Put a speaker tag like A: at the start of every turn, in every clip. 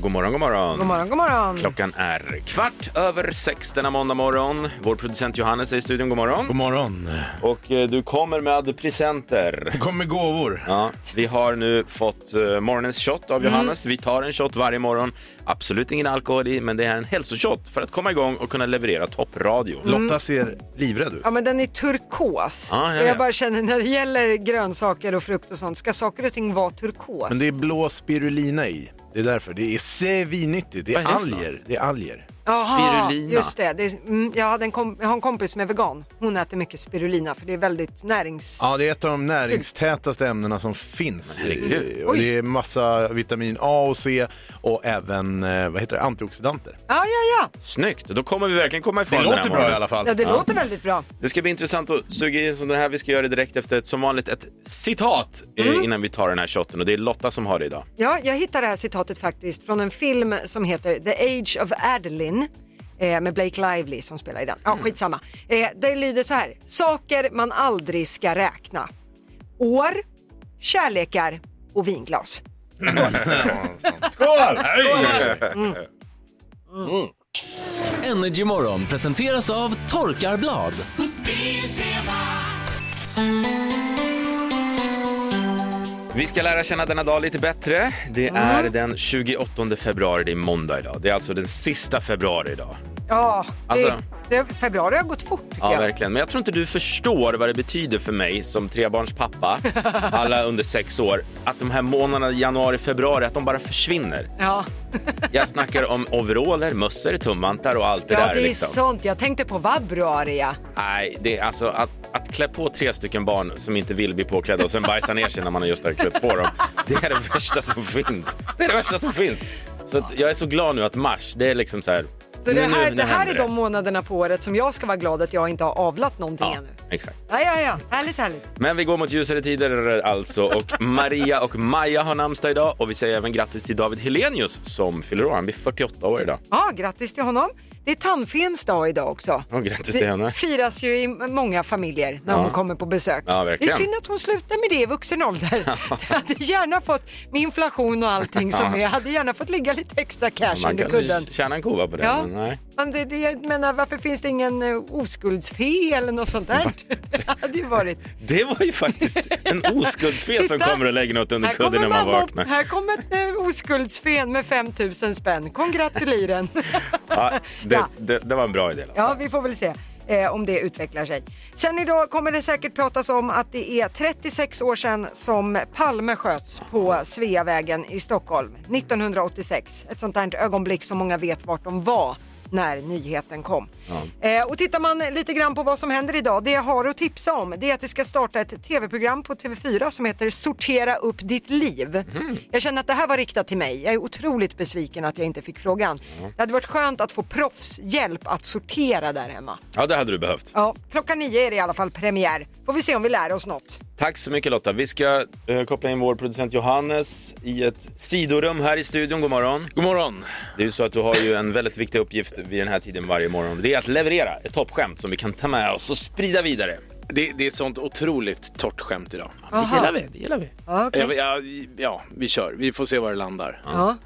A: God morgon, god morgon.
B: God morgon, god morgon.
A: Klockan är kvart över sex denna måndag morgon. Vår producent Johannes är i studion. God morgon.
C: God morgon.
A: Och eh, du kommer med presenter.
C: Det kommer gåvor.
A: Ja, vi har nu fått eh, morgonens shot av Johannes. Vi tar en shot varje morgon. Absolut ingen alkohol i, men det är en hälsoshot för att komma igång och kunna leverera toppradio.
C: Lotta ser livrädd ut.
B: Ja, men den är turkos.
A: Ja, jag
B: och jag
A: vet.
B: bara känner när det gäller grönsaker och frukt och sånt, ska saker och ting vara turkos?
C: Men det är blå spirulina i. Det är därför. Det är svinnyttigt. Det
A: Vad
C: är
A: är det för något?
C: alger. Det är alger.
B: Jaha,
A: spirulina.
B: Just det. det är, mm, jag, hade en kom, jag har en kompis som är vegan. Hon äter mycket spirulina för det är väldigt närings...
C: Ja, det är ett av de näringstätaste ämnena som finns.
A: Men herregud.
C: Eh, Och det är massa vitamin A och C och även eh, vad heter det? antioxidanter.
B: ja, ja.
A: Snyggt, då kommer vi verkligen komma ifrån
C: Det
A: den här
C: låter bra
A: morgonen.
C: i alla
B: ja.
C: fall.
B: ja det låter väldigt bra.
A: Det ska bli intressant att suga in som den här. Vi ska göra det direkt efter ett, som vanligt ett citat eh, innan vi tar den här shotten. Och det är Lotta som har det idag.
B: Ja, jag hittade det här citatet faktiskt från en film som heter The Age of Adeline eh, med Blake Lively som spelar i den. Ja,
A: Mm.
B: skitsamma. Eh, det lyder så här. Saker man aldrig ska räkna. År, kärlekar och vinglas.
C: Skål!
D: Energy Morgon presenteras av Torkarblad.
A: Vi ska lära känna denna dag lite bättre. Det är den 28 februari, det är måndag idag. Det är alltså den sista februari idag.
B: Ja, det,
A: Alltså-
B: det, februari har gått fort tycker
A: Ja,
B: jag.
A: verkligen. Men jag tror inte du förstår vad det betyder för mig som trebarns pappa, alla under sex år, att de här månaderna januari, februari, att de bara försvinner.
B: Ja,
A: Jag snackar om overaller, mössor, tumvantar och allt det
B: ja
A: där.
B: det är
A: liksom.
B: sånt. Jag tänkte på vabruari. ja.
A: Nej, det är alltså att, att klä på tre stycken barn som inte vill bli påklädda och sen bajsa ner sig när man just har klätt på dem. Det är det värsta som finns. Det är det värsta som finns. Så att jag är så glad nu att mars, det är liksom så här.
B: Så det
A: nu- nu-
B: här,
A: nu
B: det här
A: händer
B: är de månaderna på året som jag ska vara glad att jag inte har avlat någonting
A: Ja,
B: ännu.
A: exakt.
B: Ja, ja, ja. Härligt, härligt.
A: Men vi går mot ljusare tider alltså och Maria och Maja har namnsdag idag och vi säger även grattis till David Helenius som fyller år. Han blir 48 år idag.
B: Ja, grattis till honom. Det är tandfens dag idag också.
A: Ja, grattis till henne.
B: Det firas ju i många familjer när hon kommer på besök.
A: Ja,
B: det är
A: verkligen.
B: synd att hon slutar med det i vuxen ålder. Jag hade gärna fått, med inflation och allting som är, jag hade gärna fått ligga lite extra cash
A: Man
B: under
A: kan
B: kudden.
A: tjäna en kova på det.
B: Ja.
A: Men nej.
B: Men det, det, jag menar, varför finns det ingen eh, oskuldsfe eller något sånt där? Det hade ju varit.
A: Det var ju faktiskt en oskuldsfel som
B: Titta,
A: kommer och lägger något under
B: här
A: kudden när
B: kommer
A: man
B: mamma upp.
A: vaknar.
B: Här kommer ett eh, oskuldsfen med 5000 spänn. Kom gratuliren.
A: Ja, det,
B: Ja.
A: Det, det var en bra idé. Lotta.
B: Ja, vi får väl se eh, om det utvecklar sig. Sen idag kommer det säkert pratas om att det är 36 år sedan som Palme sköts på Sveavägen i Stockholm 1986. Ett sånt här ögonblick som många vet vart de var när nyheten kom. Eh, och tittar man lite grann på vad som händer idag, det jag har att tipsa om det är att det ska starta ett tv-program på TV4 som heter Sortera upp ditt liv. Jag känner att det här var riktat till mig. Jag är otroligt besviken att jag inte fick frågan. Det hade varit skönt att få proffshjälp att sortera där hemma.
A: Ja, det hade du behövt.
B: Ja, klockan nio är det i alla fall premiär. Får vi se om vi lär oss något.
A: Tack så mycket Lotta. Vi ska eh, koppla in vår producent Johannes i ett sidorum här i studion. God morgon.
C: God morgon.
A: Det är ju så att du har ju en väldigt viktig uppgift vid den här tiden varje morgon. Det är att leverera ett toppskämt som vi kan ta med oss och sprida vidare.
E: Det, det är ett sånt otroligt torrt skämt idag.
A: Det gillar vi. Det gillar vi.
B: Ja, okej.
E: Jag, jag, ja, vi kör. Vi får se var det landar.
B: Ja.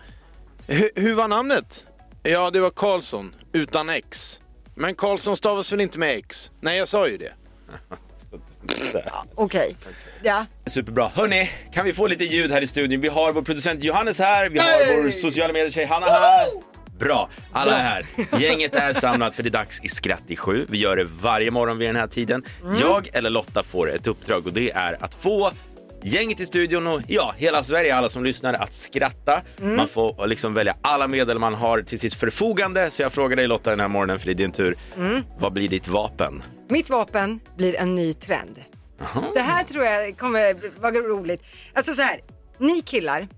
E: Hu- hur var namnet? Ja, det var Karlsson, utan X. Men Karlsson stavas väl inte med X? Nej, jag sa ju det.
B: Okej. Ja.
A: Superbra. Hörni, kan vi få lite ljud här i studion? Vi har vår producent Johannes här, vi har vår sociala medier-tjej Hanna här. Bra, alla är här. Gänget är samlat för det är dags i Skratt i sju. Vi gör det varje morgon vid den här tiden. Jag eller Lotta får ett uppdrag och det är att få gänget i studion och ja, hela Sverige, alla som lyssnar, att skratta. Man får liksom välja alla medel man har till sitt förfogande. Så jag frågar dig Lotta den här morgonen, för det är din tur. Vad blir ditt vapen?
B: Mitt vapen blir en ny trend. Det här tror jag kommer vara roligt. Alltså så här, ni killar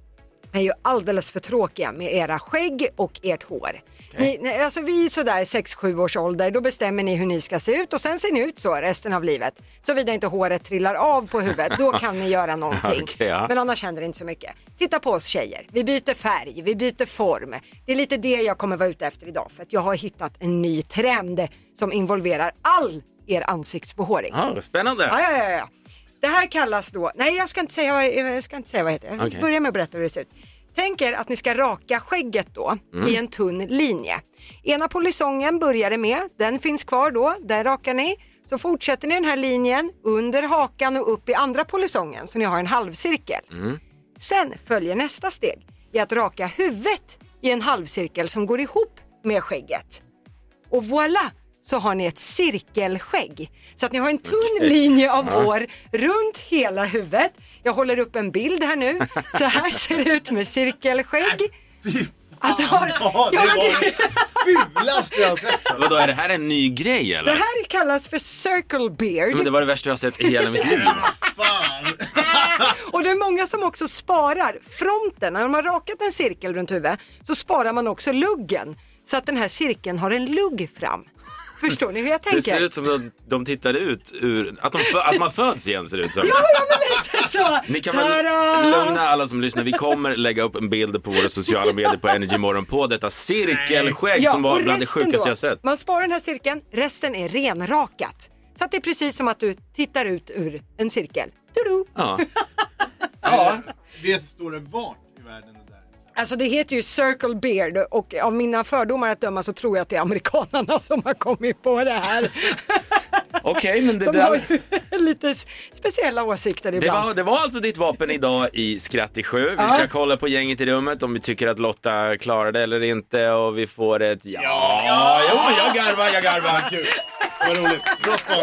B: är ju alldeles för tråkiga med era skägg och ert hår. Ni, nej, alltså vi är sådär 6-7 års ålder, då bestämmer ni hur ni ska se ut och sen ser ni ut så resten av livet. Såvida inte håret trillar av på huvudet, då kan ni göra någonting.
A: Okej, ja.
B: Men annars händer det inte så mycket. Titta på oss tjejer, vi byter färg, vi byter form. Det är lite det jag kommer vara ute efter idag för att jag har hittat en ny trend som involverar all er ansiktsbehåring.
A: Ah, spännande!
B: Ja, ja, ja, ja. Det här kallas då, nej jag ska inte säga vad, jag ska inte säga vad det heter, jag
A: Okej.
B: börjar med att berätta hur det ser ut. Tänk er att ni ska raka skägget då
A: Mm.
B: i en tunn linje. Ena polisongen börjar det med, den finns kvar då, den rakar ni. Så fortsätter ni den här linjen under hakan och upp i andra polisongen så ni har en halvcirkel.
A: Mm.
B: Sen följer nästa steg i att raka huvudet i en halvcirkel som går ihop med skägget. Och voilà! så har ni ett cirkelskägg. Så att ni har en tunn linje av hår runt hela huvudet. Jag håller upp en bild här nu. Så här ser det ut med cirkelskägg. Att du har... ja, men det,
F: Fulaste jag sett.
A: Vadå, är det här en ny grej eller?
B: det här kallas för circle beard.
A: Men det var det värsta jag har sett i hela mitt liv.
F: Fan.
B: Och det är många som också sparar fronten. När man har rakat en cirkel runt huvudet så sparar man också luggen. Så att den här cirkeln har en lugg fram. Förstår ni hur jag tänker?
A: Det ser ut som att de tittade ut ur, att, de fö- att man föds igen ser det ut som.
B: Ja, ja, men lite så.
A: Ni kan väl
B: Ta-da!
A: lugna alla som lyssnar, vi kommer lägga upp en bild på våra sociala medier på Energy Morgon på detta cirkelskägg som var
B: och
A: bland det
B: resten
A: sjukaste
B: då,
A: jag sett.
B: Man sparar den här cirkeln, resten är renrakat. Så att det är precis som att du tittar ut ur en cirkel. Tudu.
A: Ja.
F: Det står det vart i världen det där?
B: Alltså det heter ju circle beard och av mina fördomar att döma så tror jag att det är amerikanarna som har kommit på det här.
A: Okej, men det
B: De har
A: där...
B: ju lite s- speciella åsikter
A: Det
B: ibland.
A: var, det var alltså ditt vapen idag i Skratt i sju. Vi ska
B: Ja.
A: kolla på gänget i rummet om vi tycker att Lotta klarar det eller inte och vi får ett ja. Jo, jag garvar, jag
E: Ah,
A: garvar.
F: Kul. Vad roligt. Bra spaning.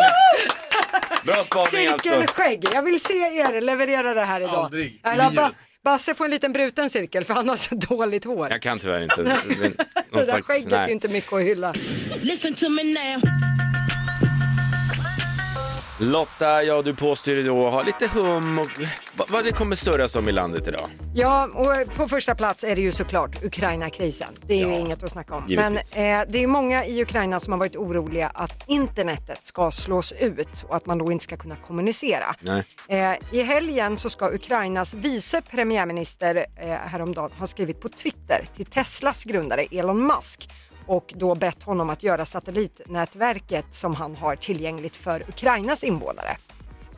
A: Bra spaning alltså.
B: Cirkelskägg, jag vill se er leverera det här idag.
F: Aldrig.
B: Eller Bas- Basse får en liten bruten cirkel för han har så dåligt hår.
A: Jag kan tyvärr inte. Men,
B: Det
A: någon
B: där
A: slags-
B: skägget är
A: nej.
B: ju inte mycket att hylla.
G: Listen to me now.
A: Lotta, ja du påstår ju då ha lite hum och vad, vad det kommer surras om i landet idag.
B: Ja, och på första plats är det ju såklart Ukraina-krisen. Det är ju inget att snacka om.
A: givetvis.
B: Men eh, det är många i Ukraina som har varit oroliga att internetet ska slås ut och att man då inte ska kunna kommunicera.
A: Nej.
B: Eh, I helgen så ska Ukrainas vice premiärminister eh, häromdagen ha skrivit på Twitter till Teslas grundare Elon Musk och då bett honom att göra satellitnätverket som han har tillgängligt för Ukrainas invånare.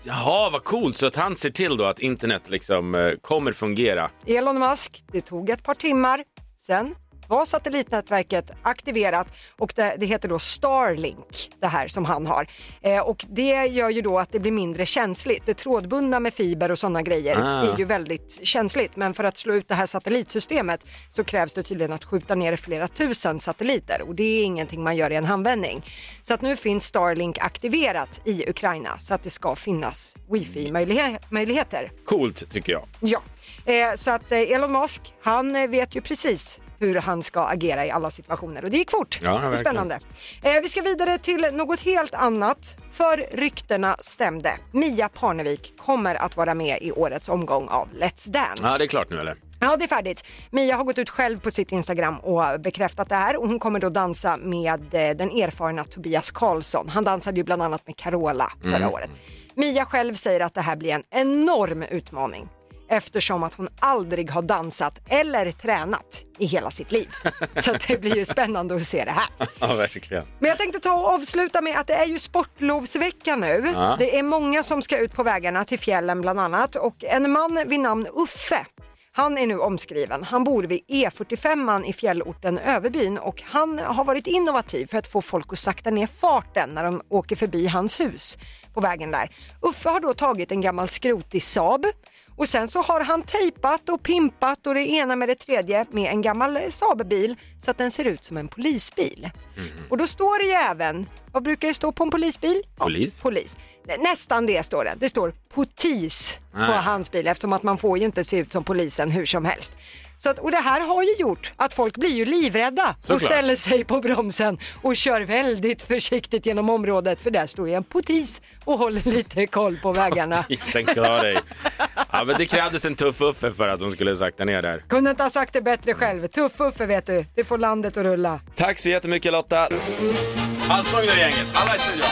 A: Jaha, vad coolt. Så att han ser till då att internet liksom eh, kommer fungera.
B: Elon Musk, det tog ett par timmar, sen var satellitnätverket aktiverat och det, det heter då Starlink, det här som han har. Eh, och det gör ju då att det blir mindre känsligt. Det trådbundna med fiber och sådana grejer
A: Ah.
B: är ju väldigt känsligt. Men för att slå ut det här satellitsystemet så krävs det tydligen att skjuta ner flera tusen satelliter och det är ingenting man gör i en handvändning. Så att nu finns Starlink aktiverat i Ukraina så att det ska finnas wifi-möjligheter.
A: Coolt tycker jag.
B: Ja, eh, så att eh, Elon Musk, han eh, vet ju precis hur han ska agera i alla situationer och det gick fort.
A: Ja,
B: det är
A: verkligen.
B: spännande. Eh, vi ska vidare till något helt annat. För ryktena stämde. Mia Parnevik kommer att vara med i årets omgång av Let's Dance.
A: Ja, det är klart nu eller?
B: Ja, det är färdigt. Mia har gått ut själv på sitt Instagram och bekräftat det här och hon kommer då dansa med eh, den erfarna Tobias Karlsson. Han dansade ju bland annat med Carola förra året. Mia själv säger att det här blir en enorm utmaning eftersom att hon aldrig har dansat eller tränat i hela sitt liv. Så att det blir ju spännande att se det här.
A: Ja, verkligen.
B: Men jag tänkte ta och avsluta med att det är ju sportlovsvecka nu.
A: Ja.
B: Det är många som ska ut på vägarna till fjällen bland annat och en man vid namn Uffe han är nu omskriven. Han bor vid E45 i fjällorten Överbyn och han har varit innovativ för att få folk att sakta ner farten när de åker förbi hans hus på vägen där. Uffe har då tagit en gammal skrotig Saab och sen så har han tejpat och pimpat och det ena med det tredje med en gammal eh, Saab-bil så att den ser ut som en polisbil.
A: Mhm.
B: Och då står det ju även, vad brukar det stå på en polisbil? Ja,
A: Polis.
B: polis. Nä- Nästan det står det. Det står potis på
A: Nej.
B: hans bil eftersom att man får ju inte se ut som polisen hur som helst. Så att, och det här har ju gjort att folk blir ju livrädda och
A: Såklart.
B: ställer sig på bromsen och kör väldigt försiktigt genom området för där står ju en potis och håller lite koll på vägarna.
A: Isen klarar dig. Ja, men det krävdes en tuff uffe för att de skulle sakta ner där.
B: Kunde inte ha sagt det bättre själv. Tuff Uffe vet du, det får landet att rulla.
A: Tack så jättemycket Lotta. Allsång nu gänget, alla i studion.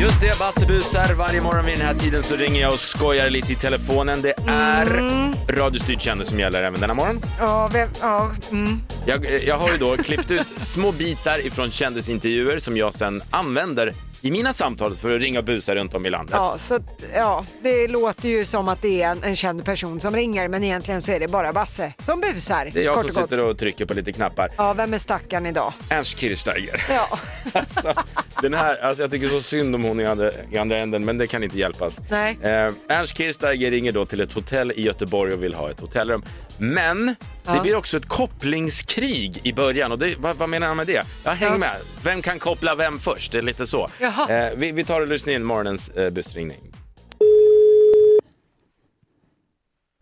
A: Just det, Bassebusar. Varje morgon vid den här tiden så ringer jag och skojar lite i telefonen. Det är
B: Mm.
A: radiostyrd kändis som gäller även denna morgon. eh,
B: Ja, vem, ja, mm.
A: Jag, jag har ju då klippt ut små bitar ifrån kändisintervjuer som jag sen använder i mina samtal för att ringa och busa runt om i landet.
B: Ja, så, att, ja, det låter ju som att det är en, en känd person som ringer men egentligen så är det bara Basse som busar.
A: Det är jag
B: kort
A: som
B: och gott.
A: sitter och trycker på lite knappar.
B: Ja, vem är stackaren idag?
A: Ernst Kirchsteiger.
B: Ja.
A: Alltså, den här, alltså jag tycker så synd om hon i andra, i andra änden, men det kan inte hjälpas.
B: Nej.
A: Eh, Ernst Kirchsteiger ringer då till ett hotell i Göteborg och vill ha ett hotellrum. Men det blir också ett kopplingskrig i början. Och det, vad, vad menar han med det? Ja, häng
B: Ja.
A: med. Vem kan koppla vem först? Det är lite så.
B: Jaha.
A: Eh, vi, vi tar och lyssnar in morgonens eh, busringning.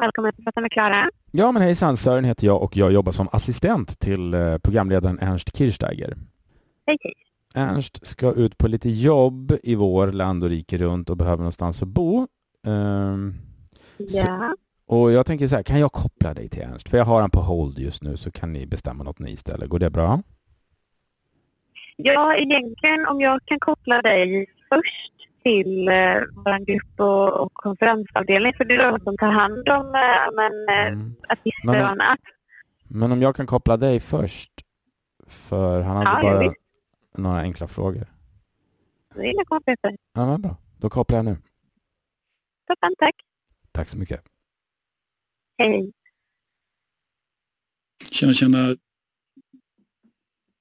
H: Välkommen att prata med Klara.
I: Ja men hejsan, Sören heter jag och jag jobbar som assistent till eh, programledaren Ernst Kirchsteiger.
H: Hej, hej.
I: Ernst ska ut på lite jobb i vår land och rike runt och behöver någonstans att bo. Ehm,
H: Ja.
I: och jag tänker så här, kan jag koppla dig till Ernst? För jag har han på hold just nu så kan ni bestämma något ni istället. Går det bra?
H: ja, egentligen om jag kan koppla dig först till eh, vår grupp och, och konferensavdelning för det är de som tar hand om eh, men, eh,
I: Mm.
H: artister och
I: Men-
H: annat.
I: Men om jag kan koppla dig först? För han hade
H: Ja,
I: bara
H: visst.
I: några enkla frågor.
H: Det är inga konstigheter.
I: Ja, men bra. Då kopplar jag nu.
H: Toppen, tack.
I: Tack så mycket.
H: Hej, Hej.
J: Tjena, tjena.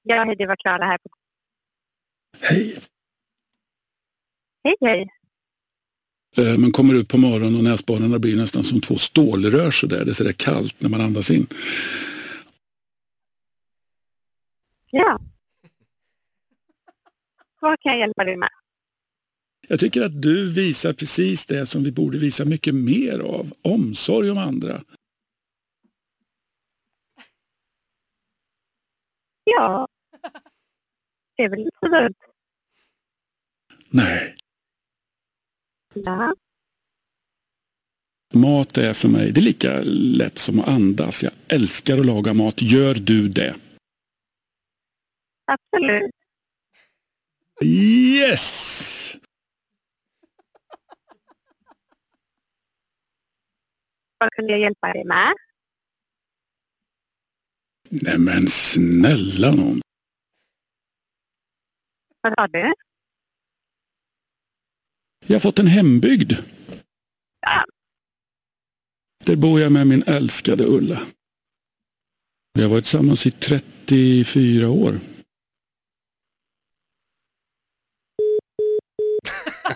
H: Ja, hej, det var Klara här. På...
J: Hej.
H: Hej, hej.
J: Eh, Man kommer ut på morgonen och näsborrarna blir nästan som två stålrör så där. Det är så där kallt när man andas in.
H: Ja. Vad kan jag hjälpa dig med?
J: Jag tycker att du visar precis det som vi borde visa mycket mer av. Omsorg om andra.
H: Ja. Det är väl inte så dumt.
J: Nej,
H: Ja.
J: mat är för mig, det är lika lätt som att andas. Jag älskar att laga mat. Gör du det?
H: Absolut.
J: Yes!
H: Vad kunde jag hjälpa dig med?
J: Nej men snälla nån.
H: Vad sa du?
J: Jag har fått en hembygd.
H: Ja.
J: Där bor jag med min älskade Ulla. Vi har varit tillsammans i 34 år.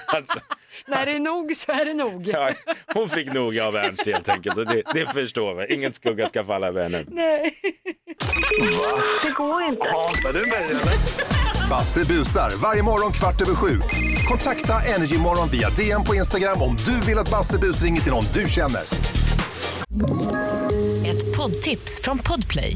A: Alltså,
B: När det är nog så är det nog.
A: ja, hon fick nog av Ernst helt enkelt. Och det, det förstår vi. Ingen skugga ska falla över henne.
B: Nej.
H: Det går inte.
K: Basse busar varje morgon kvart över sju. Kontakta Energymorgon via DM på Instagram om du vill att Basse bus ringer till någon du känner.
L: Ett poddtips från Podplay.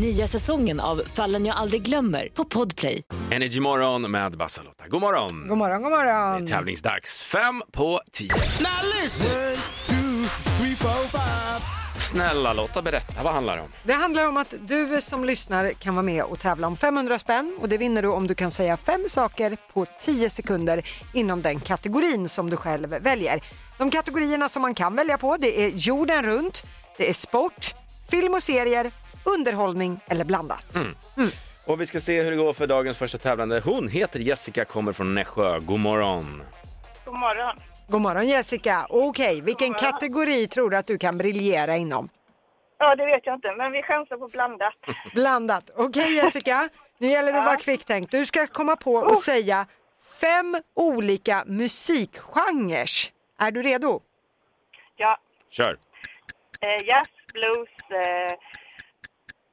L: Nya säsongen av Fallen jag aldrig glömmer på Podplay.
A: Energy morgon med Basse och Lotta. God morgon!
B: God morgon, god
A: Det är
B: morgon.
A: tävlingsdags. Fem på tio. Snälla Lotta, berätta vad handlar det om?
B: Det handlar om att du som lyssnar kan vara med och tävla om 500 spänn och det vinner du om du kan säga fem saker på 10 sekunder inom den kategorin som du själv väljer. De kategorierna som man kan välja på det är jorden runt, det är sport, film och serier, underhållning eller blandat.
A: Och vi ska se hur det går för dagens första tävlande. Hon heter Jessica, kommer från Nässjö. God morgon!
H: God morgon.
B: God morgon Jessica. Okej, vilken kategori tror du att du kan briljera inom?
H: Ja, det vet jag inte, men vi chansar på blandat.
B: Blandat. Okej Jessica, nu gäller det att vara kvicktänkt. Du ska komma på och säga fem olika musikgenrer. Är du redo?
H: Ja,
A: Kör!
H: eh, jazz, blues eh,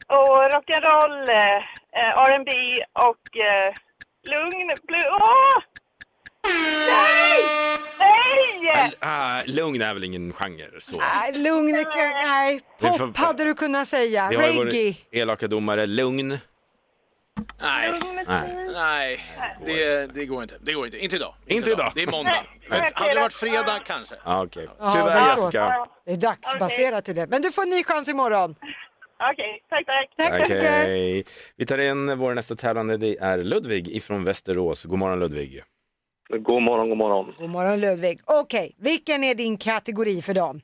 H: och rock'n'roll, eh, eh, R&B och eh, lugn, blues... Åh! Nej! Nej!
A: Ah, lugn är väl ingen genre? Så.
B: Nej, lugn. är kul. Nej,
A: Vi
B: pop
A: får-
B: hade du kunnat säga.
A: Vi har ju
B: Reggae.
A: varit elaka domare. Lugn.
E: Nej.
A: Nej.
E: Nej, det, det går inte. Det går inte. Inte idag.
A: Inte idag.
E: Det är måndag.
A: Nej.
E: Hade det varit fredag kanske.
A: Ja, ah, okej.
B: Ja, det
A: Tyvärr
B: är så.
A: Jessica.
B: Det är dagsbaserat till det. Men du får en ny chans imorgon.
M: Okej, tack, tack.
B: Tack så mycket.
A: Okej. Vi tar in vår nästa tävlande. Det är Ludvig ifrån Västerås. God morgon Ludvig.
N: God morgon, god morgon.
B: God morgon Ludvig. Okej, vilken är din kategori för dagen?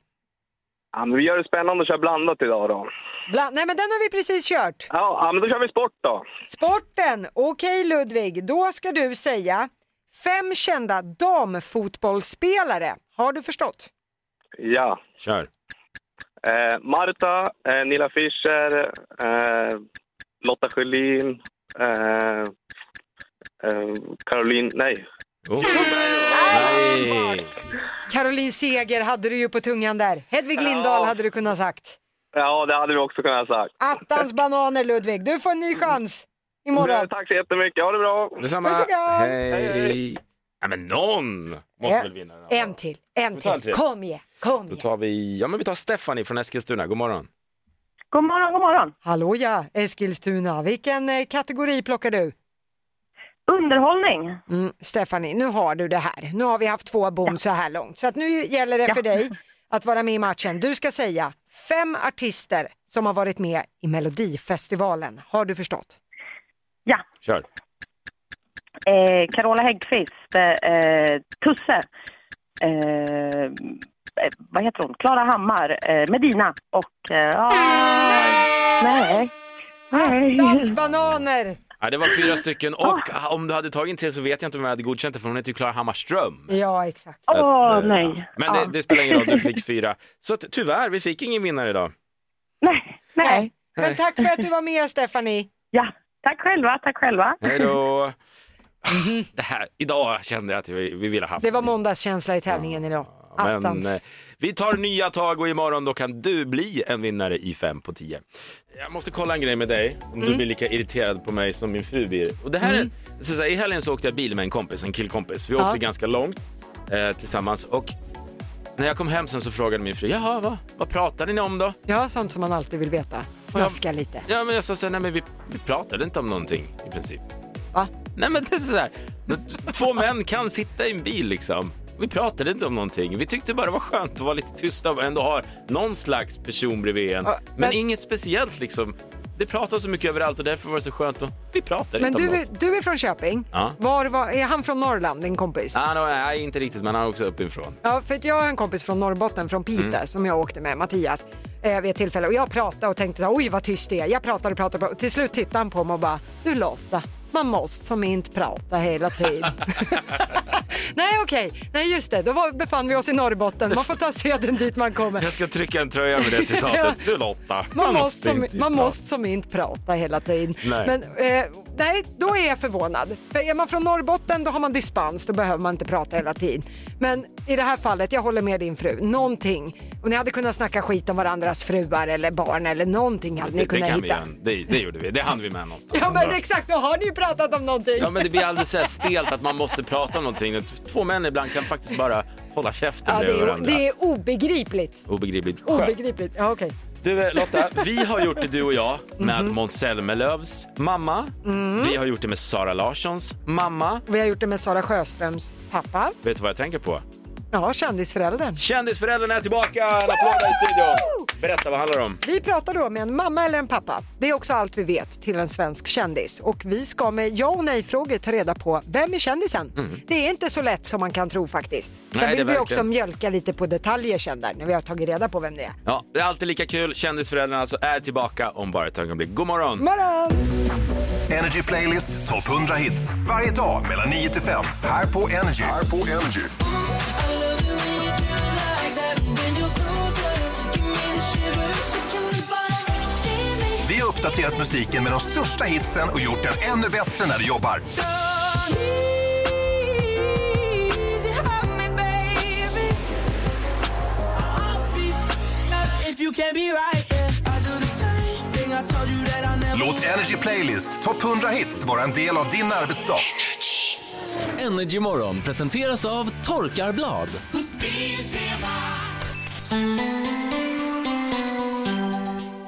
N: Ja, men vi gör det spännande att köra blandat idag då.
B: Bland... Nej men den har vi precis kört.
N: Ja, ja, men då kör vi sport då.
B: Sporten! Okej Ludvig, då ska du säga fem kända damfotbollsspelare. Har du förstått?
N: Ja.
A: Kör.
N: Eh, Marta, eh, Nilla Fischer, eh, Lotta Schelin, eh, eh, Caroline, nej.
A: Oh. Nej!
B: Caroline Seger hade du ju på tungan där. Hedvig Lindahl hade du kunnat sagt.
N: Ja, det hade vi också kunnat ha sagt.
B: Attans bananer Ludvig, du får en ny chans imorgon.
N: Eh, Tack så jättemycket, ha det bra!
A: Detsamma.
B: Puss och kram.
A: Hej. Ja, men någon måste väl vinna. den här.
B: En till, en
A: Vi tar en
B: till.
A: till.
B: Kom igen, kom
A: Då
B: igen.
A: tar vi, ja men vi tar Stephanie från Eskilstuna. God morgon.
B: God morgon, god morgon. Hallå ja, Eskilstuna. Vilken eh, kategori plockar du? Underhållning. Mm, Stephanie, nu har du det här. Nu har vi haft två bom så här långt. Så att nu gäller det för dig att vara med i matchen. Du ska säga fem artister som har varit med i Melodifestivalen. Har du förstått?
A: Kör.
M: Eh, Carola Häggkvist, eh, eh, Tusse, eh, eh, vad heter hon? Klara Hammar, eh, Medina och... Eh, ah, nej. Nej.
B: Dansbananer!
A: Ja, det var fyra stycken och ah, om du hade tagit till så vet jag inte om jag hade godkänt det för hon heter ju Klara Hammarström.
B: Ja, exakt.
A: Så att, eh,
M: nej.
A: Men
B: Ah.
A: det, det spelar ingen roll, du fick fyra. Så att, tyvärr, vi fick ingen vinnare idag.
B: Nej. Men tack för att du var med Stephanie. Ja, tack själva, tack själva.
A: Hej då! Det här, idag kände jag att vi, vi ville ha haft
B: Det var måndagskänsla i tävlingen idag.
A: Men
B: Attans.
A: eh, vi tar nya tag och imorgon då kan du bli en vinnare i 5 på 10. Jag måste kolla en grej med dig, om du
O: Mm.
A: blir lika irriterad på mig som min fru blir. Och det här är, så, så här, I helgen så åkte jag bil med en kompis, en killkompis. Vi åkte
O: Ja.
A: ganska långt eh, tillsammans och när jag kom hem sen så frågade min fru, jaha, vad, vad pratade ni om då?
B: Ja, sånt som man alltid vill veta. Snaska lite.
A: Ja, men jag sa så här, nej men vi, vi pratade inte om någonting i princip.
B: Va?
A: Nej men det är så här, t- två män kan sitta i en bil liksom. Vi pratade inte om någonting. Vi tyckte bara det var skönt att vara lite tysta och ändå ha någon slags person bredvid en.
B: Ja,
A: men...
B: men-
A: inget speciellt liksom. Det pratas så mycket överallt och därför var det så skönt att vi pratade
B: Men
A: inte om
B: du, är-
A: något.
B: du är från Köping.
A: Ja.
B: Var, var, är han från Norrland, din kompis?
A: Ah, no, nej, inte riktigt men han är också uppifrån.
B: Ja, för att jag har en kompis från Norrbotten, från Piteå,
A: Mm.
B: som jag åkte med, Mattias, eh, vid ett tillfälle. Och jag pratade och tänkte så här, oj vad tyst det är. Jag pratade och pratade och till slut tittade han på mig och bara, du Lotta, man måste som inte prata hela tiden. Nej okej, nej just det, då var, befann vi oss i Norrbotten. Man får ta seden dit man kommer.
A: Jag ska trycka en tröja med det
B: Ja.
A: citatet. Du Lotta,
B: Man måste, som,
A: inte
B: man
A: prata.
B: måste som inte prata hela tiden.
A: Nej.
B: Men, eh, nej, då är jag förvånad. För är man från Norrbotten då har man dispens, då behöver man inte prata hela tiden. Men i det här fallet, jag håller med din fru, någonting. Och ni hade kunnat snacka skit om varandras fruar eller barn eller någonting hade
A: Det,
B: ni
A: det
B: kunnat
A: kan vi
B: hitta.
A: göra. Det, det gjorde vi. Det hann vi med någonstans.
B: Ja men exakt, då har ni ju pratat om någonting.
A: Ja, men det blir alldeles så här stelt att man måste prata om någonting. Att Två män ibland kan faktiskt bara hålla käften
B: Ja, det,
A: bredvid
B: är,
A: varandra.
B: det är obegripligt.
A: Obegripligt. Skönt.
B: Obegripligt, ja okej.
A: Du eh, Lotta, vi har gjort det du och jag med Måns Zelmerlöws mamma.
B: Mm.
A: Vi har gjort det med Sara Larssons mamma.
B: Vi har gjort det med Sara Sjöströms pappa.
A: Vet du vad jag tänker på?
B: Ja, kändisföräldern.
A: Kändisföräldrarna är tillbaka! En applåd där i studion! Berätta, vad handlar det om?
B: Vi pratar då med en mamma eller en pappa. Det är också allt vi vet till en svensk kändis. Och vi ska med ja och nej-frågor ta reda på vem är kändisen?
A: Mm.
B: Det är inte så lätt som man kan tro faktiskt.
A: Nej,
B: Sen
A: det är
B: vill vi
A: verkligen-
B: också mjölka lite på detaljer sen där när vi har tagit reda på vem det är.
A: Ja, det är alltid lika kul. Kändisföräldrarna alltså är tillbaka om bara ett ögonblick. God morgon!
B: Morgon!
K: Energy Playlist Top 100 hits. Varje dag mellan 9 till 5. Här på Energy. Här på Energy. Vi har uppdaterat musiken med de största hitsen och gjort den ännu bättre när du jobbar. Låt Energy Playlist Top 100 hits vara en del av din arbetsdag.
D: Energy Morgon presenteras av Torkarblad.
A: God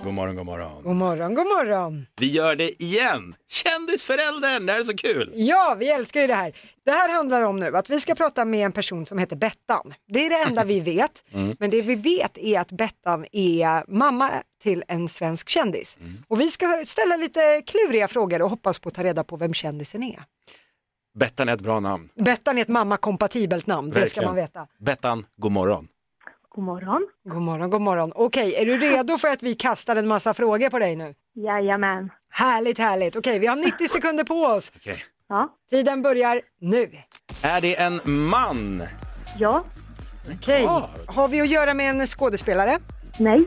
A: God morgon, god morgon.
B: God morgon, god morgon.
A: Vi gör det igen! Kändisföräldern, det här är så kul!
B: Ja, vi älskar ju det här. Det här handlar om nu att vi ska prata med en person som heter Bettan. Det är det enda vi vet.
A: Mm.
B: Men det vi vet är att Bettan är mamma till en svensk kändis.
A: Mm.
B: Och vi ska ställa lite kluriga frågor och hoppas på att ta reda på vem kändisen är.
A: Bettan är ett bra namn.
B: Bettan är ett mammakompatibelt namn, det ska
A: Verkligen.
B: man veta.
A: Bettan, god morgon.
B: God morgon. God morgon, god morgon. Okej, är du redo för att vi kastar en massa frågor på dig nu? Jajamän. Härligt, härligt. Okej, vi har 90 sekunder på oss.
A: Okej.
B: Ja. Tiden börjar nu.
A: Är det en man?
B: Ja. Okej, har vi att göra med en skådespelare? Nej.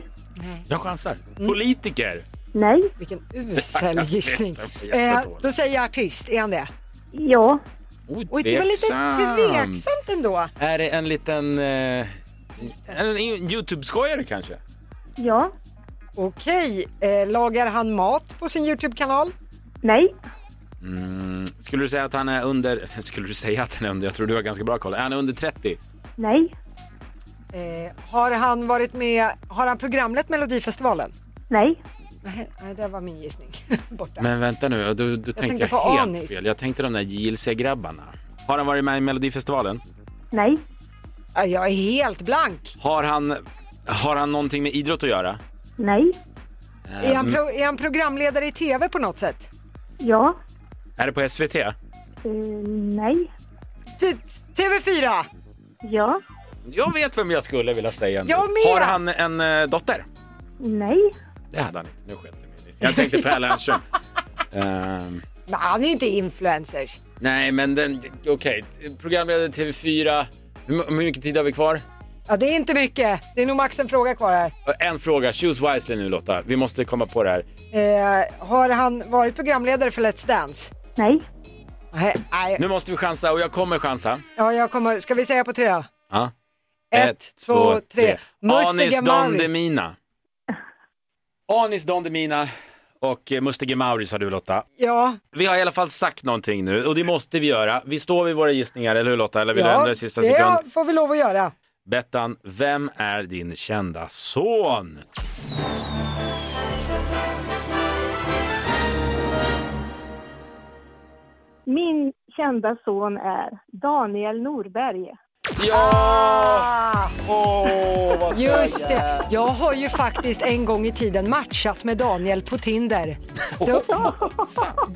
A: Jag chansar.
B: Mm.
A: Politiker?
B: Nej. Vilken usel gissning.
A: Jag vet, jag var
B: Eh,
A: jättedålig.
B: då säger jag artist, är han det? Ja. Oj, det var lite
A: Tveksamt.
B: tveksamt ändå.
A: Är det en liten... Eh, en Youtube-skojare kanske?
B: Ja. Okej, eh, lagar han mat på sin Youtube-kanal? Nej.
A: Mm. Skulle du säga att han är under... Skulle du säga att han är under... Jag tror du har ganska bra koll. Är han under 30?
B: Nej. Eh, har han varit med, har han programlett Melodifestivalen? Nej. Nej, det var min gissning. Borta.
A: Men vänta nu, då, då tänkte
B: tänkte
A: jag
B: på
A: helt
B: Anis.
A: fel. Jag tänkte de där JLC-grabbarna. Har han varit med i Melodifestivalen?
B: Nej. Jag är helt blank.
A: Har han, har han någonting med idrott att göra?
B: Nej. Är han,
A: Ehm,
B: pro, är han programledare i TV på något sätt? Ja.
A: Är det på SVT?
B: nej. TV4? Ja.
A: Jag vet vem jag skulle vilja säga nu.
B: Jag med.
A: Har han en eh, dotter?
B: Nej.
A: Det hade han inte. Nu sket jag i min lista. Jag tänkte Per Lernström. Ehm,
B: Men han är inte influencers.
A: nej, men den... Okej, programledare TV4. Hur, hur mycket tid har vi kvar?
B: Ja, det är inte mycket. Det är nog max en fråga kvar här.
A: Eh, En fråga. Choose wisely nu Lotta. Vi måste komma på det här.
B: Eh, har han varit programledare för Let's Dance? Nej. Nej.
A: Nu måste vi chansa och jag kommer chansa.
B: Ja, jag kommer. Ska vi säga på tre då?
A: Ja.
B: Ett, två, tre. Musti
A: Anis Don
B: Gemari.
A: Demina. Anis Don Demina och eh, Musti Gemauri sa du Lotta.
B: Ja.
A: Vi har i alla fall sagt någonting nu och det måste vi göra. Vi står vid våra gissningar, eller hur Lotta? Eller vill du ändra i sista
B: det
A: sekund?
B: får vi lov att göra.
A: Bettan, vem är din kända son?
O: Min kända son är Daniel Norberg.
A: Ja! Åh, vad
B: Just det, jag har ju faktiskt en gång i tiden matchat med Daniel på Tinder. Tho-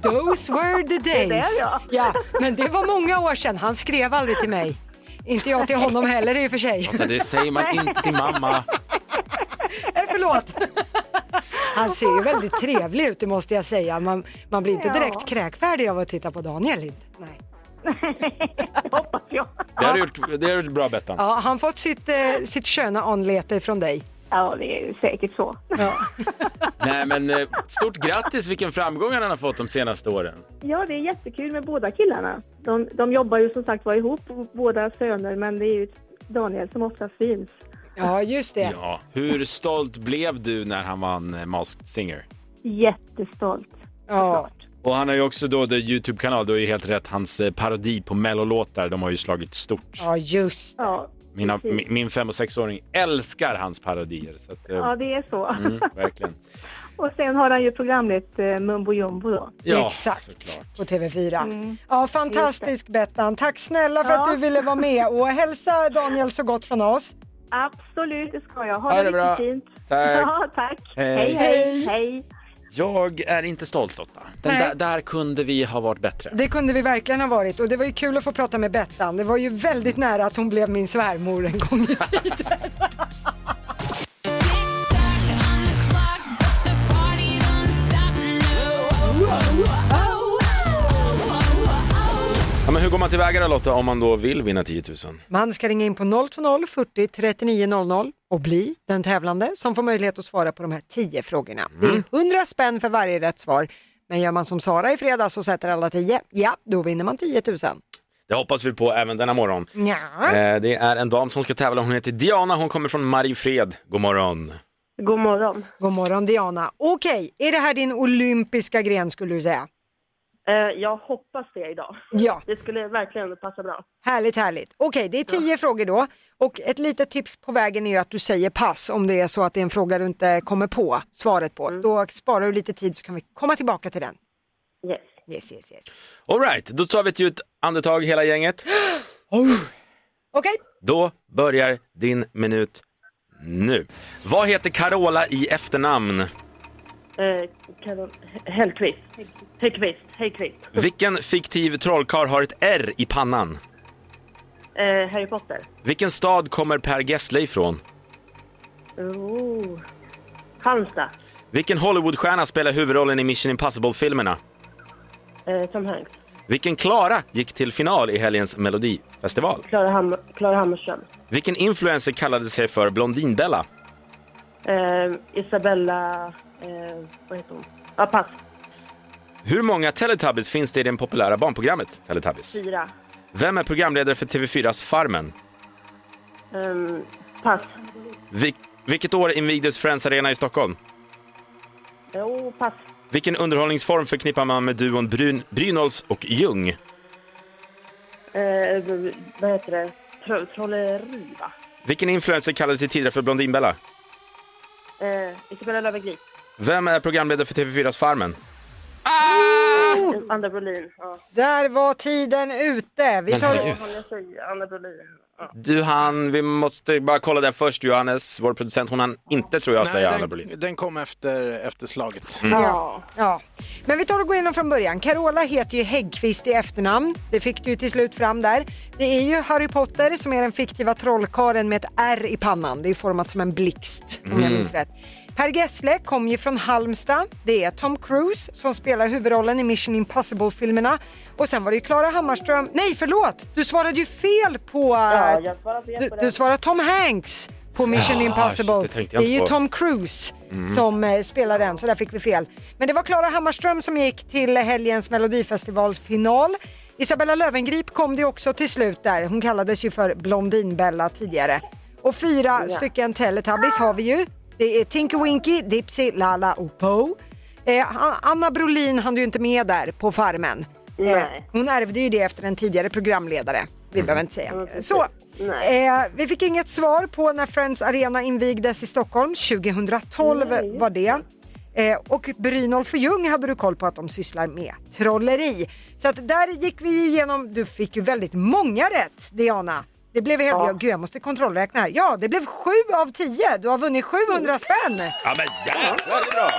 B: Those were the
O: Det är det,
B: days.
O: ja.
B: Ja, men det var många år sedan, han skrev aldrig till mig. Inte jag till honom heller i och för sig.
A: Lotta, det säger man inte till mamma.
B: Nej, Eh, Förlåt. Han ser ju väldigt trevlig ut, det måste jag säga. Man, man blir inte direkt kräkfärdig av att titta på Daniel. inte. Nej.
A: Det har du gjort, det har du gjort bra Bettan.
B: Ja, han fått sitt, eh, sitt sköna anlete från dig. Ja, det är säkert så.
A: Nej, men eh, stort grattis vilken framgång han har fått de senaste åren.
O: Ja, det är jättekul med båda killarna. De, de jobbar ju som sagt var ihop, båda söner, men det är ju Daniel som oftast syns.
B: Ja, just det.
A: Ja, hur stolt blev du när han vann eh, Masked Singer?
O: Jättestolt.
B: Ja.
A: Och han har ju också då, det Youtube-kanal, du är ju helt rätt, hans eh, parodi på mellolåtar, de har ju slagit stort.
B: Ja, just
O: ja,
A: Mina,
O: precis.
A: min, min fem och sexåring älskar hans parodier. Så att, eh,
O: ja, det är så.
A: mm, verkligen.
O: och sen har han ju programmet eh, Mumbo Jumbo då.
A: Ja,
B: Exakt, på TV4. Ja, fantastisk Bettan. Tack snälla för
O: Ja.
B: att du ville vara med och hälsa Daniel så gott från oss.
O: Absolut, det ska jag. Ha,
A: Ha
O: det
A: det bra.
O: riktigt fint.
A: Tack.
O: Ja, tack.
A: Hej.
O: Hej, hej. hej.
A: Jag är inte stolt Lotta. Den
B: Nej.
A: där, där kunde vi ha varit bättre.
B: Det kunde vi verkligen ha varit och det var ju kul att få prata med Bettan. Det var ju väldigt nära att hon blev min svärmor en gång i tiden.
A: Ja, men hur går man tillväga då Lotta om man då vill vinna 10 000?
B: Man ska ringa in på 020-40 39 00 och bli den tävlande som får möjlighet att svara på de här 10 frågorna. Det är 100 spänn för varje rätt svar. Men gör man som Sara i fredags och sätter alla 10, ja då vinner man 10 000.
A: Det hoppas vi på även denna morgon.
B: Ja.
A: Eh, det är en dam som ska tävla. Hon heter Diana. Hon kommer från Mariefred. God morgon.
B: God morgon. God morgon Diana. Okej, är det här din olympiska gren skulle du säga?
O: Eh, jag hoppas det idag.
B: Ja.
O: Det skulle verkligen passa bra.
B: Härligt, härligt. Okej, det är tio frågor då. Och ett litet tips på vägen är ju att du säger pass om det är så att det är en fråga du inte kommer på svaret på. Då sparar du lite tid så kan vi komma tillbaka till den.
O: Yes.
B: Yes, yes, yes.
A: All right, då tar vi ett djupt andetag hela gänget.
B: Okej,
A: Då börjar din minut nu. Vad heter Carola i efternamn?
O: Eh, Karol- He- Hellqvist. Hellqvist. Hellqvist.
A: Vilken fiktiv trollkarl har ett R i pannan?
O: Eh, Harry Potter.
A: Vilken stad kommer Per Gessle ifrån?
O: Oh. Halmstad.
A: Vilken Hollywoodstjärna spelar huvudrollen i Mission Impossible-filmerna?
O: Eh, Tom Hanks.
A: Vilken Klara gick till final i helgens melodifestival?
O: Klara, Ham- Klara Hammarström.
A: Vilken influencer kallade sig för Blondinbella?
O: Eh, Isabella... Eh, vad heter hon? Ja, pass.
A: Hur många Teletubbies finns det i det populära barnprogrammet Teletubbies?
O: Fyra.
A: Vem är programledare för TV4s Farmen?
O: Ehm, pass.
A: Vil- vilket år invigdes Friends Arena i Stockholm?
O: Jo, oh, pass.
A: Vilken underhållningsform förknippar man med duon Bryn- Brynolfs och Ljung?
O: Eh, vad heter det? Tro- trolleri, va?
A: Vilken influencer kallades sig tidigare för Blondinbella?
O: Eh, Isabella Löwengrip.
A: Vem är programledare för TV4s Farmen?
O: Eh, Anna Brolin. Ja.
B: där var tiden ute. Vi
A: Men
B: tar...
A: herregud.
O: Som jag säger, Anna Brolin. Ja.
A: Du han, vi måste bara kolla där först Johannes, vår producent, hon hann inte tror jag säga Anna Brolin.
E: Den, den kom efter, efter slaget.
A: Mm.
B: Ja. ja. Men vi tar och går igenom från början. Carola heter ju Häggkvist i efternamn. Det fick du ju till slut fram där. Det är ju Harry Potter som är den fiktiva trollkaren med ett R i pannan. Det är format som en blixt om jag
P: Mm.
B: minns rätt. Per Gessle kom ju från Halmstad. Det är Tom Cruise som spelar huvudrollen i Mission Impossible-filmerna. Och sen var det ju Klara Hammarström. Nej, förlåt! Du svarade ju fel på...
O: Ja, jag svarade fel
B: du,
O: på
B: du
O: den.
B: svarade Tom Hanks på Mission
A: Ah,
B: Impossible.
A: shit, det tänkte
B: det
A: jag inte
B: är ju
A: på.
B: Tom Cruise
A: Mm.
B: som eh, spelar den, så där fick vi fel. Men det var Klara Hammarström som gick till helgens melodifestivalsfinal. Isabella Löwengrip kom det också till slut där. Hon kallades ju för Blondinbella tidigare. Och fyra
P: Ja.
B: stycken Teletubbies har vi ju. Det är Tinky Winky, Dipsy, Lala och Poe. Eh, A- Anna Brolin hann ju inte med där på Farmen. Eh, hon ärvde ju det efter en tidigare programledare. Vi behöver inte säga. Så, eh, vi fick inget svar på när Friends Arena invigdes i Stockholm. 2012 var det. Eh, och Brynolf och Ljung hade du koll på att de sysslar med trolleri. Så att där gick vi igenom, du fick ju väldigt många rätt Diana. Det blev helt, ja. gud jag måste kontrollräkna här. Ja, det blev 7 av 10. Du har vunnit 700 spänn.
A: Ja men jävlar det är bra!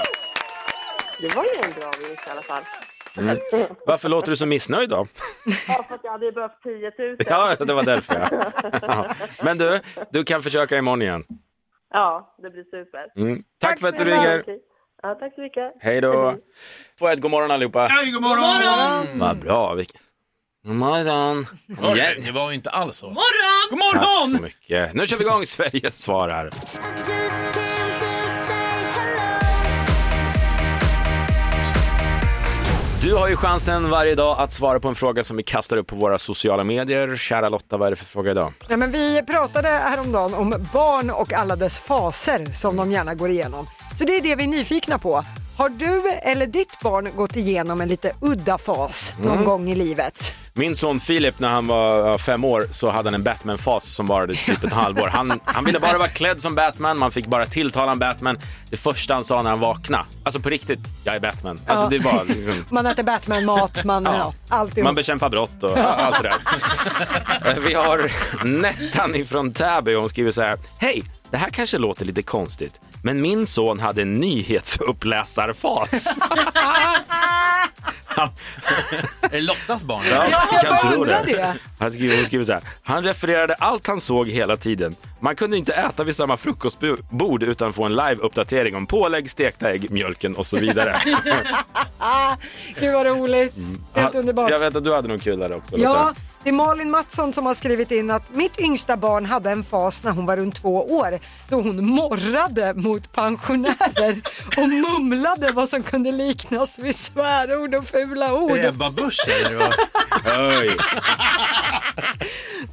O: Det var ju en bra vinst i alla fall.
A: Mm. Varför låter du så missnöjd då?
O: Ja, för att jag hade ju behövt 10 000.
A: Ja, det var därför ja. ja. Men du, du kan försöka imorgon igen.
O: Ja, det blir super.
A: Mm. Tack, för att du
O: snälla.
A: ringer.
O: Okej. Ja, tack så mycket.
A: Hej då. Får jag ett god morgon allihopa?
O: Hej, god morgon. God morgon.
A: Vad bra. vilken- God morgon. Kom igen.
C: Det var ju inte alls så.
F: Morgon! God
A: Tack så
F: morgon!
A: mycket. Nu kör vi igång Sverige svarar. Du har ju chansen varje dag att svara på en fråga som vi kastar upp på våra sociala medier. Kära Lotta, vad är det för fråga idag?
B: Ja, men vi pratade häromdagen om barn och alla dess faser som de gärna går igenom. Så det är det vi är nyfikna på. Har du eller ditt barn gått igenom en lite udda fas någon
A: Mm.
B: gång i livet?
A: Min son Filip, när han var ja, fem år, så hade han en Batman-fas som varade typ ett halvår. Han, han ville bara vara klädd som Batman, man fick bara tilltala om Batman. Det första han sa när han vaknade, alltså på riktigt, jag är Batman. Alltså
B: Ja.
A: det var liksom...
B: Man äter Batman-mat, man... ja. alltihop.
A: Man bekämpar brott och allt det där. Eh, Vi har Nettan ifrån Täby och hon skriver så här. Hej! Det här kanske låter lite konstigt, men min son hade en nyhetsuppläsarfas.
F: Är det Lottas barn?
A: Ja,
F: jag
A: jag kan
F: bara
A: tro det.
F: undrar det.
A: Han skriver, hon skriver så här. Han refererade allt han såg hela tiden. Man kunde inte äta vid samma frukostbord utan få en live-uppdatering om pålägg, stekta ägg, mjölken och så vidare.
B: Gud vad roligt. Helt
A: Han-
B: underbart.
A: Mm. Jag vet att du hade någon kul där också.
B: Ja,
A: Lotta.
B: det är Malin Mattsson som har skrivit in att mitt yngsta barn hade en fas när hon var runt två år då hon morrade mot pensionärer och mumlade vad som kunde liknas vid svärord och fula
F: Är
B: ord.
F: det Ebba Busch eller? vad?
A: Oj.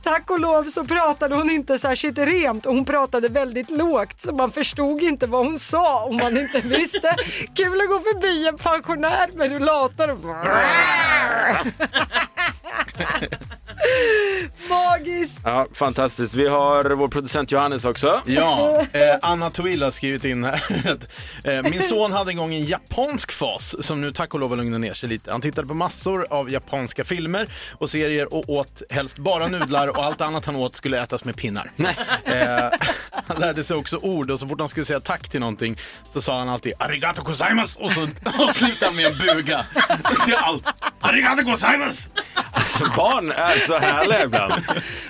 B: Tack och lov så pratade hon inte särskilt rent och hon pratade väldigt lågt så man förstod inte vad hon sa om man inte visste. Kul att gå förbi en pensionär med rullator. Magiskt!
A: Ja, fantastiskt. Vi har vår producent Johannes också.
C: Ja, eh, Anna Twill har skrivit in här att eh, min son hade en gång en japansk fas som nu tack och lov har lugnat ner sig lite. Han tittade på massor av japanska filmer och serier och åt helst bara nudlar och allt annat han åt skulle ätas med pinnar. Eh, han lärde sig också ord och så fort han skulle säga tack till någonting så sa han alltid arigato gozaimasu och så och slutade han med en buga till allt. Arigato gozaimasu!
A: Alltså barn är så härliga ibland.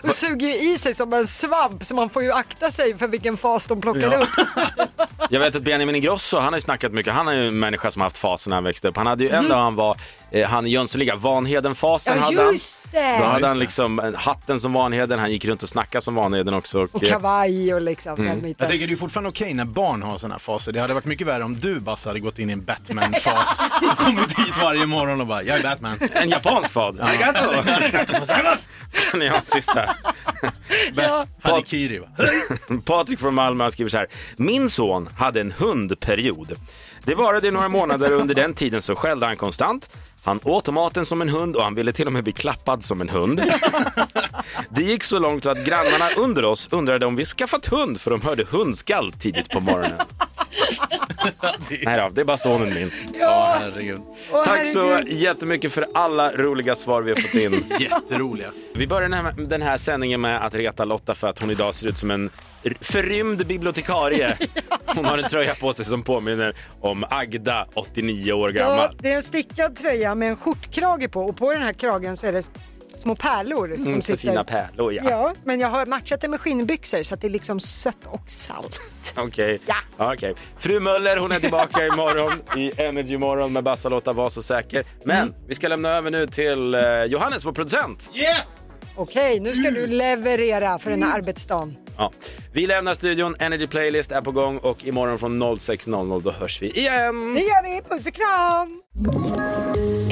B: Och suger ju i sig som en svamp så man får ju akta sig för vilken fas de plockar
A: Ja.
B: upp.
A: Jag vet att Benjamin Ingrosso, han har ju snackat mycket, han är ju en människa som har haft fasen när han växte upp. Han hade ju en
B: Mm.
A: dag han var, eh, han i Jönssonliga, Vanheden-fasen
B: Ja,
A: hade han.
B: just det.
A: Då
B: Ja,
A: hade
B: just
A: han liksom en- hatten som Vanheden, han gick runt och snackade som Vanheden också.
B: Och
A: eh,
B: kavaj och liksom
A: Mm.
B: den biten.
C: Jag tänker det är fortfarande okej när barn har såna här faser. Det hade varit mycket värre om du Basse hade gått in i en Batman-fas och kommit hit varje morgon och bara “Jag är Batman”.
A: En japansk fad. Arigato! Ska ni ha en sista?
C: Harikiri va?
A: Patrik från Malmö han skriver så här. Min son hade en hundperiod. Det varade i några månader och under den tiden så skällde han konstant. Han åt maten som en hund och han ville till och med bli klappad som en hund. Det gick så långt att grannarna under oss undrade om vi skaffat hund för de hörde hundskall tidigt på morgonen. Nej då, det är bara sonen min.
B: Ja,
C: herregud.
B: Åh,
A: Tack så
B: herregud.
A: jättemycket för alla roliga svar vi har fått in.
C: Jätteroliga.
A: Vi börjar den här, den här sändningen med att reta Lotta för att hon idag ser ut som en r- förrymd bibliotekarie. Hon har en tröja på sig som påminner om Agda, 89 år
B: Ja,
A: gammal.
B: det är en stickad tröja med en skjortkrage på och på den här kragen så är det små pärlor. som
A: Mm, så
B: sitter.
A: fina pärlor, ja.
B: Ja, men jag har matchat det med skinnbyxor så att det är liksom sött och salt.
A: Okej. Ja. okej. Fru Möller hon är tillbaka imorgon i Energy Morgon med Bassa-Lotta, var så säker. Men
B: Mm.
A: vi ska lämna över nu till eh, Johannes, vår producent.
B: Yes! Okej, nu ska du leverera för den här arbetsdagen.
A: Ja. Vi lämnar studion, Energy Playlist är på gång och imorgon från 06.00 då hörs vi igen.
B: Det gör vi, puss och kram!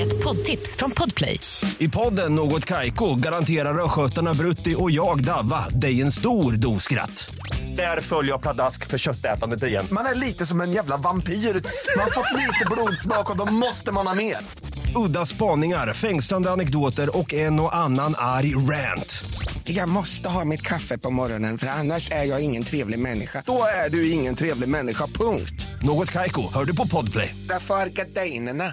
L: Ett poddtips från Podplay.
P: I podden Något Kaiko garanterar östgötarna Brutti och jag, Davva, dig en stor dos skratt. Där följer jag pladask för köttätandet igen.
K: Man är lite som en jävla vampyr. Man har fått lite blodsmak och då måste man ha mer.
P: Udda spaningar, fängslande anekdoter och en och annan arg rant.
Q: Jag måste ha mitt kaffe på morgonen för annars är jag ingen trevlig människa.
K: Då är du ingen trevlig människa, punkt.
P: Något Kaiko, hör du på Podplay.
Q: Därför arkadeinerna.